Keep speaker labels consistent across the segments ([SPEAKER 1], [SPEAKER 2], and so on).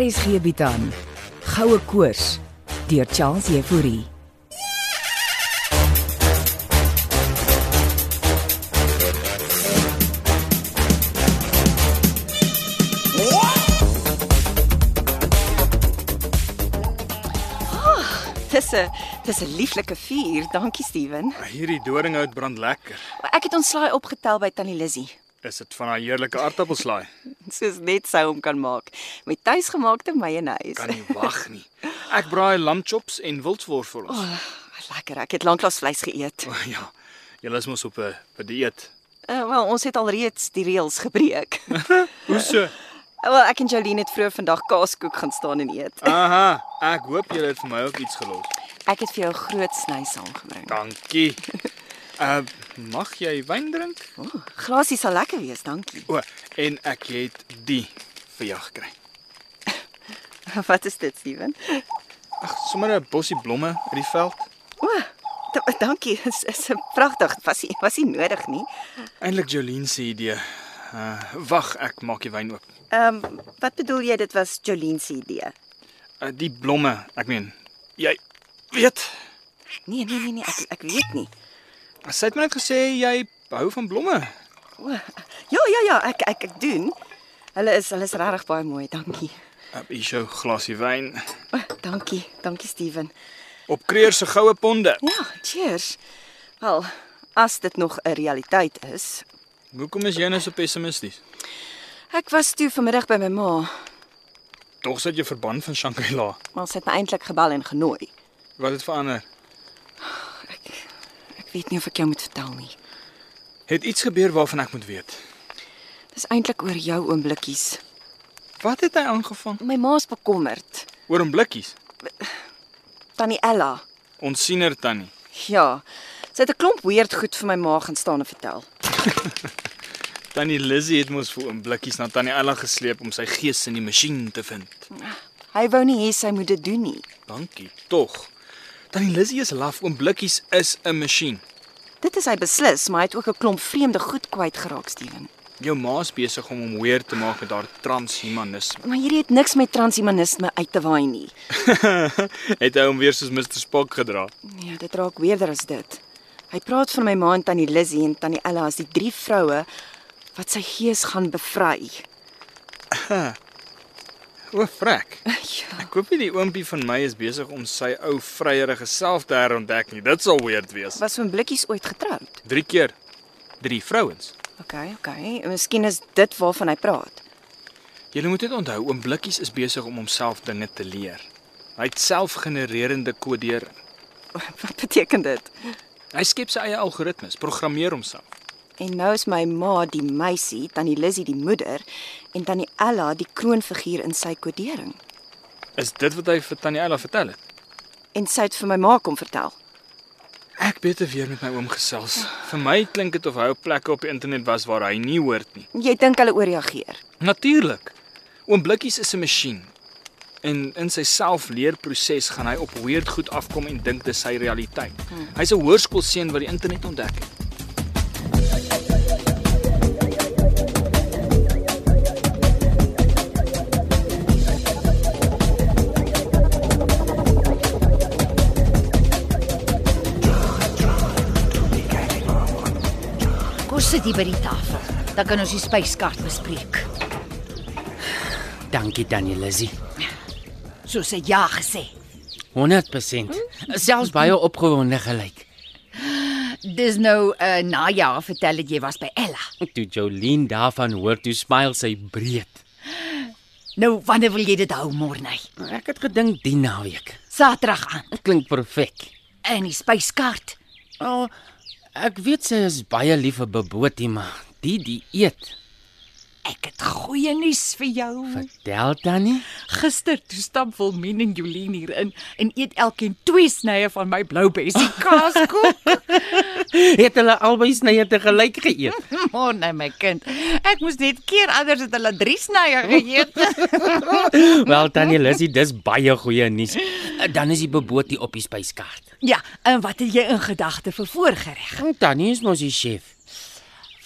[SPEAKER 1] RSG bied aan Goue Koors deur Charles Euphorie.
[SPEAKER 2] Ah, Dis 'n dis 'n lieflike vuur. Dankie Steven.
[SPEAKER 3] Hierdie doringhout brand lekker.
[SPEAKER 2] Ek het ons slaai opgetel by Tannie Lizzy.
[SPEAKER 3] Is dit van daai heerlike aartappelslaai?
[SPEAKER 2] Soos net sou hom kan maak met tuisgemaakte mayonnaise.
[SPEAKER 3] Kan nie wag nie. Ek braai lamchops en wildwors vir ons.
[SPEAKER 2] Oh, lekker. Ek het lanklaas vleis geëet.
[SPEAKER 3] Oh, ja. Julle is mos op 'n op 'n dieet.
[SPEAKER 2] Uh, wel, ons het alreeds die reëls gebreek.
[SPEAKER 3] Hoe so?
[SPEAKER 2] wel, ek en Jolene het vroeër vandag kaaskoek gaan staan en eet.
[SPEAKER 3] Aha, ek hoop julle het vir my ook iets gelos.
[SPEAKER 2] Ek het vir jou 'n groot sny saamgebring.
[SPEAKER 3] Dankie. Uh, mag jy wyn drink?
[SPEAKER 2] Oh, glasie sal lekker wees, dankie.
[SPEAKER 3] O, oh, en ek het die vir jou gekry.
[SPEAKER 2] Wat is dit, Steven?
[SPEAKER 3] Ag, sommer 'n bosie blomme uit die veld.
[SPEAKER 2] O, oh, dankie. Dit is 'n pragtig. Was nie was nie nodig nie.
[SPEAKER 3] Eindelik Jolien se idee. Uh, wag, ek maak die wyn oop.
[SPEAKER 2] Ehm, um, wat bedoel jy dit was Jolene se idee?
[SPEAKER 3] Uh, die blomme, ek meen, jy weet,
[SPEAKER 2] Nee, nee, nee, nee, ek ek weet nie.
[SPEAKER 3] sy het my net gesê jy hou van blomme.
[SPEAKER 2] O, ja, ja, ja, ek ek ek doen. Hulle is hulle is regtig baie mooi, dankie.
[SPEAKER 3] Uh, hier is jou glasie wyn.
[SPEAKER 2] O, dankie. Dankie Steven.
[SPEAKER 3] Op Kreer se goue ponde.
[SPEAKER 2] Ja, cheers. Wel, as dit nog 'n realiteit is.
[SPEAKER 3] Hoekom is jy nou so pessimisties?
[SPEAKER 2] Ek was toe vanmiddag by my ma,
[SPEAKER 3] Tog sit jy verband van Shangri-La.
[SPEAKER 2] maar sy het my eintlik gebel en genooi.
[SPEAKER 3] Wat het verander?
[SPEAKER 2] Ek ek weet nie of ek jou moet vertel nie.
[SPEAKER 3] Het iets gebeur waarvan ek moet weet?
[SPEAKER 2] Dis eintlik oor jou oom Blikkies.
[SPEAKER 3] Wat het hy aangevang?
[SPEAKER 2] My ma's bekommerd.
[SPEAKER 3] Oor 'n blikkies.
[SPEAKER 2] Tannie Ella.
[SPEAKER 3] Ons siener tannie.
[SPEAKER 2] Ja. Sy het 'n klomp weird goed vir my ma gaan staan en vertel.
[SPEAKER 3] Tannie Lizzy het mos vir oom blikkies na tannie Ella gesleep om sy gees in die masjien te vind.
[SPEAKER 2] Hy wou nie hê sy moet dit doen nie.
[SPEAKER 3] Dankie tog. Tannie Lizzy is laf, oom blikkies is 'n masjien.
[SPEAKER 2] Dit is hy beslis, maar hy het ook 'n klomp vreemde goed kwyt geraak, Steven.
[SPEAKER 3] Jou ma's besig om hom weer te maak met haar transhumanisme.
[SPEAKER 2] Maar hierdie het niks met transhumanisme uit te waai nie.
[SPEAKER 3] het hy hom weer soos Mr Spock gedra?
[SPEAKER 2] Nee, dit raak weerder as dit. Hy praat van my ma en tannie Lizzy en tannie Ella as die drie vroue wat sy gees gaan bevry.
[SPEAKER 3] O, frek.
[SPEAKER 2] Ja,
[SPEAKER 3] Ek hoop nie die oompie van my is besig om sy ou vryerige self te herontdek nie. Dit sal weird wees.
[SPEAKER 2] was van Blikkies ooit getroud.
[SPEAKER 3] 3 keer 3 vrouens.
[SPEAKER 2] OK, OK. en Miskien is dit waarvan hy praat.
[SPEAKER 3] Jy moet dit onthou, oom Blikkies is besig om homself dinge te leer. Hy het selfgenererende kodering.
[SPEAKER 2] Wat beteken dit?
[SPEAKER 3] Hy skep sy eie algoritmes, programmeer homself.
[SPEAKER 2] En nou is my ma die meisie, tannie Lizzy die moeder en tannie Ella die kroonfiguur in sy kodering.
[SPEAKER 3] Is dit wat hy vir Tannie Ella vertel het?
[SPEAKER 2] En sy het vir my ma kom vertel.
[SPEAKER 3] Ek beter weer met my oom gesels. Vir my klink dit of hy op plekke op die internet was waar hy nie hoort nie.
[SPEAKER 2] Jy dink hulle ooreageer.
[SPEAKER 3] Natuurlik. Oom Blikkies is 'n masjien. En in sy selfleerproses gaan hy op weird goed afkom en dink dis sy realiteit. Hy's 'n hoërskoolseun wat die internet ontdek het.
[SPEAKER 4] Kom sit hier by die tafel. Dan kan ons die spyskaart bespreek.
[SPEAKER 5] Dankie Tannie Lizzy.
[SPEAKER 4] Soos hy ja gesê.
[SPEAKER 5] 100%. Selfs baie opgewonde gelyk.
[SPEAKER 4] Dis nou 'n uh, najaar vertel dat jy was by Ella.
[SPEAKER 5] Toe Jolien daarvan hoor, toe smile sy breed.
[SPEAKER 4] Nou wanneer wil jy dit hou môre?
[SPEAKER 5] Ek het gedink die naweek.
[SPEAKER 4] Saterdag aan.
[SPEAKER 5] Klink perfek.
[SPEAKER 4] En die spyskaart.
[SPEAKER 5] O, oh, ek weet sy is baie lief vir Beboetie, maar die dieet.
[SPEAKER 4] Ek het goeie nuus vir jou.
[SPEAKER 5] Vertel Tannie.
[SPEAKER 6] Gister toe stap Wilmien en Jolien hier in en eet elkeen twee snye van my bloubesie kaaskoek.
[SPEAKER 5] Het hulle albei snye te gelyk geëet?
[SPEAKER 6] Môre my kind. Ek moes net keer anders het hulle drie snye geëet.
[SPEAKER 5] Wel Tannie Lizzy, dis baie goeie nuus. Dan is die Beboetie op die spyskaart.
[SPEAKER 6] ja, en wat het jy in gedagte vir voorgereg?
[SPEAKER 5] Tannie is mos die chef.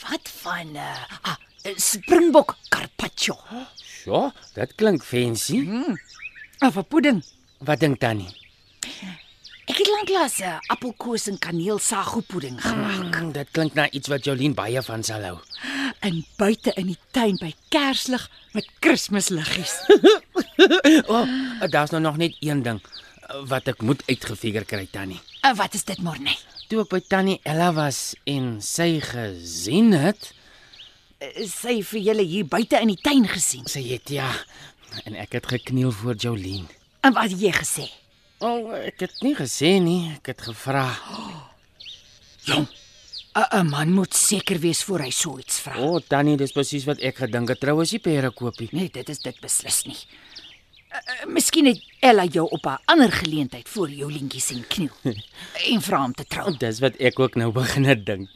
[SPEAKER 6] Wat van uh,
[SPEAKER 4] eh, Ah, Springbok carpaccio.
[SPEAKER 5] Sjoe, dit klink fancy.
[SPEAKER 6] Of 'n pudding.
[SPEAKER 5] Wat dink tannie?
[SPEAKER 4] Ek het lanklaas 'n appelkoos en kaneelsagopudding gemaak.
[SPEAKER 5] Mm, dit klink na iets wat Jolien baie van sal hou.
[SPEAKER 6] in buite in die tuin by kerslig met kerstmisliggies.
[SPEAKER 5] O, oh, daar's nou nog net een ding eh, wat ek moet uitgefigure kry tannie.
[SPEAKER 4] En wat is dit, Morney?
[SPEAKER 5] Toe ek by tannie Ella was en sy gesien het,
[SPEAKER 4] Eh, Sy vir julle hier buite in die tuin gesien.
[SPEAKER 5] sy het ja, en ek het gekniel voor Jolien.
[SPEAKER 4] En wat het jy gesê?
[SPEAKER 5] O, oh, ek het nie gesê nie, ek het gevra.
[SPEAKER 4] 'n 'n Eh, Man moet seker wees voor hy so iets vra.
[SPEAKER 5] O, oh, tannie, dis presies wat ek gedink het. Trouwens, die pere koopie.
[SPEAKER 4] Nee, dit is dit beslis nie. Uh, uh, miskien het Ella jou op 'n ander geleentheid voor jou lintjie sien kniel en vra om te trou.
[SPEAKER 5] Dis wat ek ook nou begin het dink.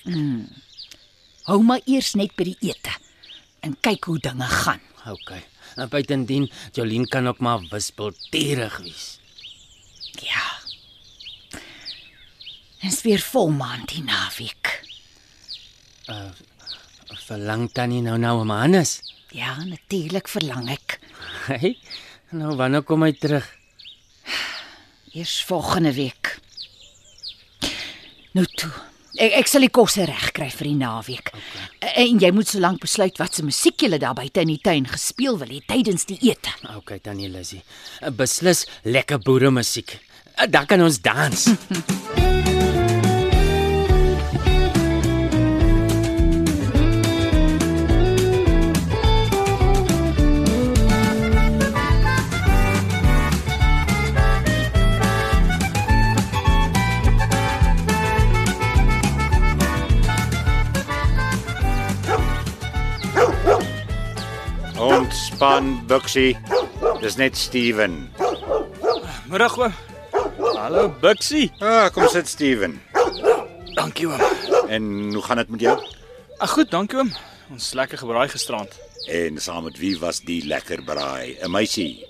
[SPEAKER 4] Hou maar eers net by die ete en kyk hoe dinge gaan.
[SPEAKER 5] OK. En buitendien, Jolien kan ook maar wispelturig wees.
[SPEAKER 4] Ja. Dis weer volmaan die naweek.
[SPEAKER 5] Verlang tannie nou nou om Hannes.
[SPEAKER 4] Ja, natuurlik verlang ek.
[SPEAKER 5] Hey, nou wanneer kom hy terug?
[SPEAKER 4] Eers volgende week. Nou toe. Ek, ek sal die kosse regkry vir die naweek. Okay. En jy moet solank besluit wat se musiek jy daar buite in die tuin gespeel wil hê tydens die ete.
[SPEAKER 5] OK, tannie Lissy. Beslis lekker boere musiek. Dan kan ons dans.
[SPEAKER 7] Ontspan, Buxie. Dis net Steven.
[SPEAKER 3] Middag oom. Hallo Bixie.
[SPEAKER 7] Ah, kom sit Steven.
[SPEAKER 3] Dankie oom.
[SPEAKER 7] En hoe gaan dit met jou?
[SPEAKER 3] Ag goed, dankie oom. Ons lekker gebraai gisterand.
[SPEAKER 7] En saam met wie was die lekker braai? 'n Meisie,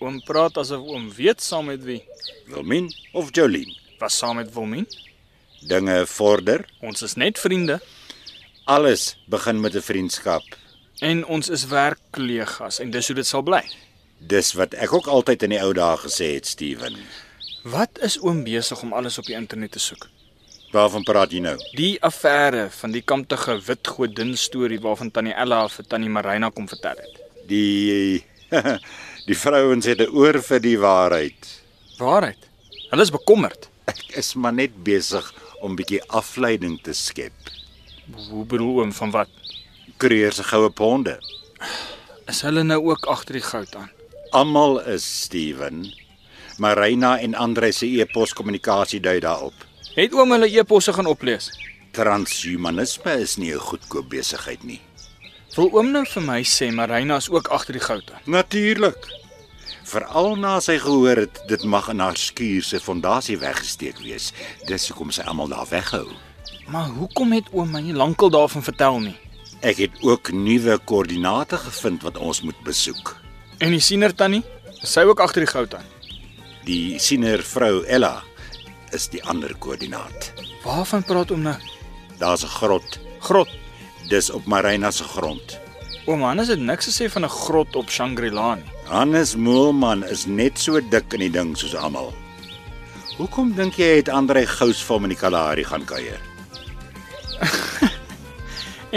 [SPEAKER 3] Oom praat asof oom weet saam met wie.
[SPEAKER 7] Wilmien of Jolien?
[SPEAKER 3] Was saam met Wilmien.
[SPEAKER 7] Dinge vorder.
[SPEAKER 3] Ons is net vriende
[SPEAKER 7] Alles begin met 'n vriendskap.
[SPEAKER 3] en ons is werkkollegas en dis hoe dit sal bly.
[SPEAKER 7] Dis wat ek ook altyd in die ou dae gesê het, Steven.
[SPEAKER 3] Wat is oom besig om alles op die internet te soek?
[SPEAKER 7] Waarvan praat jy nou?
[SPEAKER 3] Die affære van die kamptige wit godin storie waarvan tannie Ella vir tannie Marina kom vertel het.
[SPEAKER 7] Die die vrouens het 'n oor vir die waarheid.
[SPEAKER 3] Waarheid. Hulle is bekommerd.
[SPEAKER 7] Ek is maar net besig om 'n bietjie afleiding te skep.
[SPEAKER 3] Hoe bedoel oom van wat?
[SPEAKER 7] Kreer se goue ponde.
[SPEAKER 3] Is hulle nou ook agter die goud aan?
[SPEAKER 7] Almal is Steven. Marina en Andre se e-pos kommunikasie dui daarop.
[SPEAKER 3] Het oom hulle e-posse gaan oplees?
[SPEAKER 7] Transhumanisme is nie 'n goedkoop besigheid nie.
[SPEAKER 3] Wil oom nou vir my sê Marina is ook agter die goud aan?
[SPEAKER 7] Natuurlik. Veral na sy gehoor het dit mag in haar skuur se fondasie weggesteek wees. Dis hoekom sy almal daar weghou.
[SPEAKER 3] Maar hoekom het oom my nie lankal daarvan vertel nie?
[SPEAKER 7] Ek het ook nuwe koördinate gevind wat ons moet besoek.
[SPEAKER 3] En die siener tannie, is sy ook agter die goud aan?
[SPEAKER 7] Die siener vrou Ella is die ander koördinaat.
[SPEAKER 3] Waarvan praat oom nou?
[SPEAKER 7] Daar's 'n grot.
[SPEAKER 3] Grot.
[SPEAKER 7] Dis op Marina se grond.
[SPEAKER 3] Oom Hannes het niks gesê van 'n grot op Shangri-La nie.
[SPEAKER 7] Hannes Moelman is net so dik in die ding soos almal. Hoekom dink jy het Andre Gous vir hom in die Kalahari gaan kuier?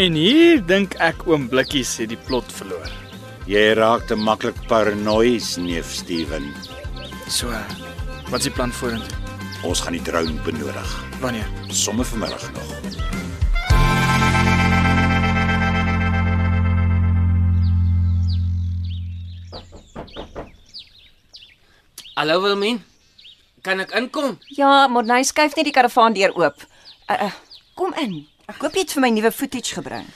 [SPEAKER 3] En hier dink ek oom Blikkies het die plot verloor.
[SPEAKER 7] Jy raak te maklik paranoïes, neef Steven.
[SPEAKER 3] So, wat is die plan vorentoe?
[SPEAKER 7] Ons gaan die drone benodig.
[SPEAKER 3] Wanneer?
[SPEAKER 7] Somme vanmiddag nog.
[SPEAKER 5] Hallo Wilmien. Kan ek inkom?
[SPEAKER 2] Ja, Morney skuif net die karavaan deur oop. Uh, uh, kom in. Ek hoop jy het vir my nuwe footage gebring.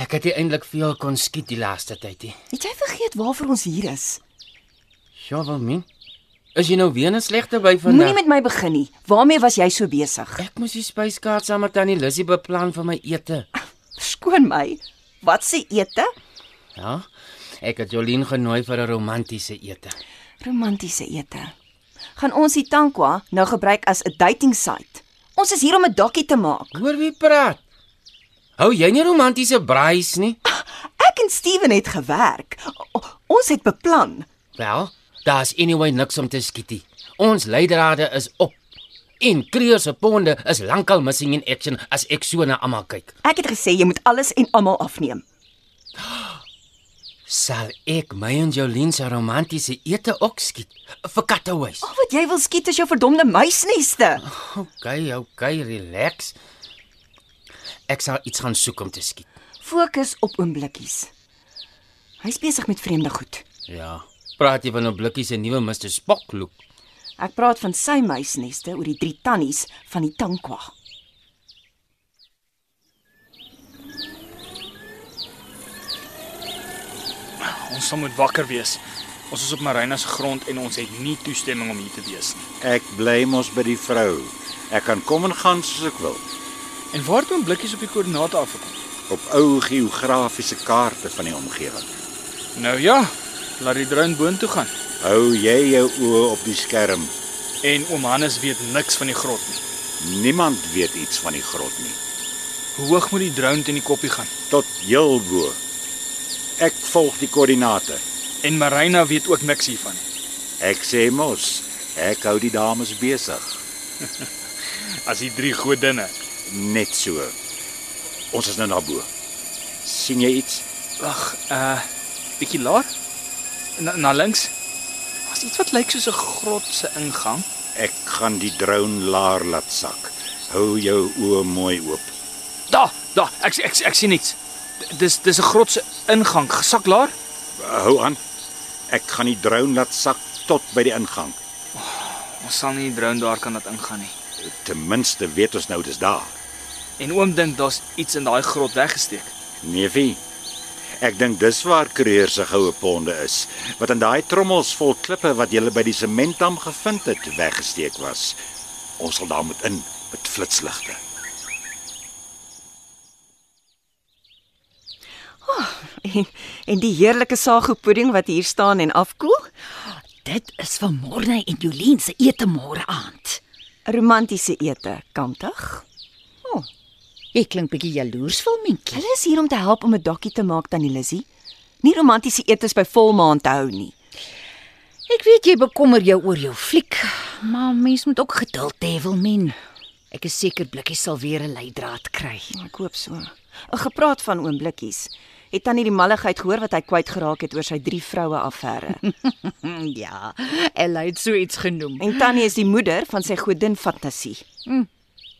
[SPEAKER 5] Ek het eintlik veel kon skiet die laaste tyd.
[SPEAKER 2] Het jy vergeet waarvoor ons hier is?
[SPEAKER 5] Ja, Wilmien. Is jy nou weer 'n slegte by
[SPEAKER 2] Moenie
[SPEAKER 5] vandag?
[SPEAKER 2] met my begin nie. Waarmee was jy so besig?
[SPEAKER 5] Ek moes die spyskaart saam met tannie Lissy beplan vir my ete.
[SPEAKER 2] Verskoon my. Wat se ete?
[SPEAKER 5] Ja. Ek het Jolien genooi vir 'n romantiese ete.
[SPEAKER 2] Romantiese ete. Gaan ons die Tankwa nou gebruik as 'n dating site. Ons is hier om 'n dokkie te maak.
[SPEAKER 5] Hoor wie praat? Hou jy nie romantiese braais nie?
[SPEAKER 2] Ek Ek en Steven het gewerk. O, ons het beplan.
[SPEAKER 5] Wel, daar's anyway niks om te skietie. Ons leidrade is op. En Kreer se ponde is lankal missing in action as ek so na almal kyk.
[SPEAKER 2] Ek het gesê jy moet alles en almal afneem.
[SPEAKER 5] Sal ek my en Jolien se romantiese ete ook skiet vir Katahuis?
[SPEAKER 2] Al wat jy wil skiet is jou verdomde muisneste.
[SPEAKER 5] Okay, okay, relax. Ek sal iets gaan soek om te skiet.
[SPEAKER 2] Fokus op oomblikkies. Hy's besig met vreemde goed.
[SPEAKER 5] Ja. Praat jy van 'n blikkie se nuwe Mr. Spock look?
[SPEAKER 2] Ek praat van sy muisneste oor die drie tannies van die Tankwa.
[SPEAKER 3] Ons sal moet wakker wees. Ons is op Marina se grond en ons het nie toestemming om hier te wees nie.
[SPEAKER 7] Ek bly mos by die vrou. Ek kan kom en gaan soos ek wil.
[SPEAKER 3] En waar toe blikkies op die koördinate afgekom?
[SPEAKER 7] Op ou geografiese kaarte van die omgewing.
[SPEAKER 3] Nou ja, laat die drone boontoe gaan.
[SPEAKER 7] Hou jy jou oë op die skerm.
[SPEAKER 3] En oom Hannes weet niks van die grot nie.
[SPEAKER 7] Niemand weet iets van die grot nie
[SPEAKER 3] Hoe hoog moet die drone teen die koppie gaan?
[SPEAKER 7] tot heel bo. Ek volg die koördinate.
[SPEAKER 3] En Marina weet ook niks hiervan nie.
[SPEAKER 7] Ek sê mos, ek hou die dames besig.
[SPEAKER 3] As die drie godinne.
[SPEAKER 7] Net so. Ons is nou na bo. sien jy iets?
[SPEAKER 3] Wag, uh bietjie laer. Na, na links. Daar's iets wat lyk soos 'n grot se ingang.
[SPEAKER 7] Ek gaan die drone laer laat sak. Hou jou oë mooi oop.
[SPEAKER 3] Daar, daar. Ek ek ek sien iets. D- Dis dis 'n grot se ingang, gesak laer.
[SPEAKER 7] Hou aan. Ek gaan die drone laat sak tot by die ingang.
[SPEAKER 3] Ons sal nie die drone daar kan laat ingaan nie.
[SPEAKER 7] Ten minste weet ons nou dis daar.
[SPEAKER 3] En oom dink daar's iets in daai grot weggesteek.
[SPEAKER 7] Neefie. Ek dink dis waar Kreer se goue ponde is, wat in daai trommels vol klippe wat jy by die sementdam gevind het weggesteek was. Ons sal daar moet in met flitsligte.
[SPEAKER 2] En en die heerlike sago pudding wat hier staan en afkoel,
[SPEAKER 4] Dit is vir Morne en Jolien se ete môre aand.
[SPEAKER 2] 'n romantiese ete, kantig.
[SPEAKER 4] Jy klink bietjie jaloers, Wilmentjie.
[SPEAKER 2] Hulle is hier om te help om 'n dokkie te maak tannie Lizzie. Nie romantiese etes by volmaan te hou nie.
[SPEAKER 4] Ek weet jy bekommer jou oor jou fliek, maar mens moet ook geduld hê, Wilmen. Ek is seker Blikkie sal weer 'n leidraad kry.
[SPEAKER 2] Ja, Ek hoop so. Ek gepraat van oom Blikkies. Het tannie die malligheid gehoor wat hy kwyt geraak het oor sy drie vroue affære.
[SPEAKER 4] Hm, Ja, Ella het so iets genoem.
[SPEAKER 2] en tannie is die moeder van sy godin Fantasie.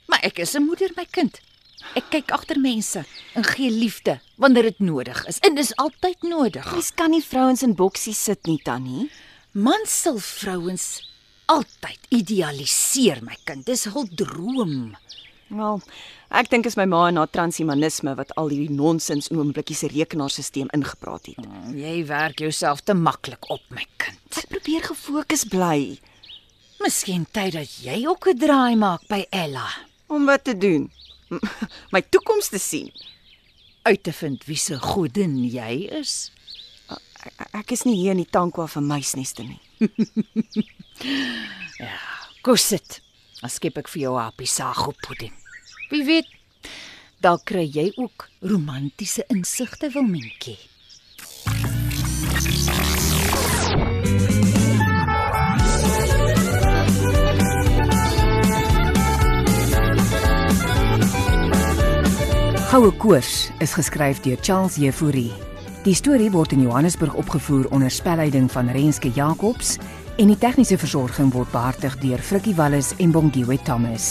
[SPEAKER 4] Maar ek is 'n moeder, my kind. Ek kyk agter mense en gee liefde wanneer dit nodig is. En dis altyd nodig.
[SPEAKER 2] Mens kan nie vrouens in boksies sit nie, tannie.
[SPEAKER 4] Mans sal vrouens altyd idealiseer, my kind. Dis hul droom.
[SPEAKER 2] Wel, ek dink is my ma en haar transhumanisme wat al hierdie nonsens in oomblikkie se rekenaarstelsel ingepraat het.
[SPEAKER 4] Jy werk jouself te maklik op, my kind.
[SPEAKER 2] Ek probeer gefokus bly
[SPEAKER 4] Miskien tyd dat jy ook 'n draai maak by Ella.
[SPEAKER 2] om wat te doen. My toekoms te sien.
[SPEAKER 4] uit te vind wie se godin jy is.
[SPEAKER 2] Ek- Ek is nie hier in die tankwa vir muisneste nie.
[SPEAKER 4] Kom sit. Dan skep ek vir jou 'n happie sago pudding. Wie weet, dalk kry jy ook romantiese insigte, Wilmentjie.
[SPEAKER 8] Goue Koors is geskryf deur Charles Jefouri. Die storie word in Johannesburg opgevoer onder spelleiding van Renske Jacobs en die tegniese versorging word behartig deur Frikkie Wallis en Bongwe Thomas.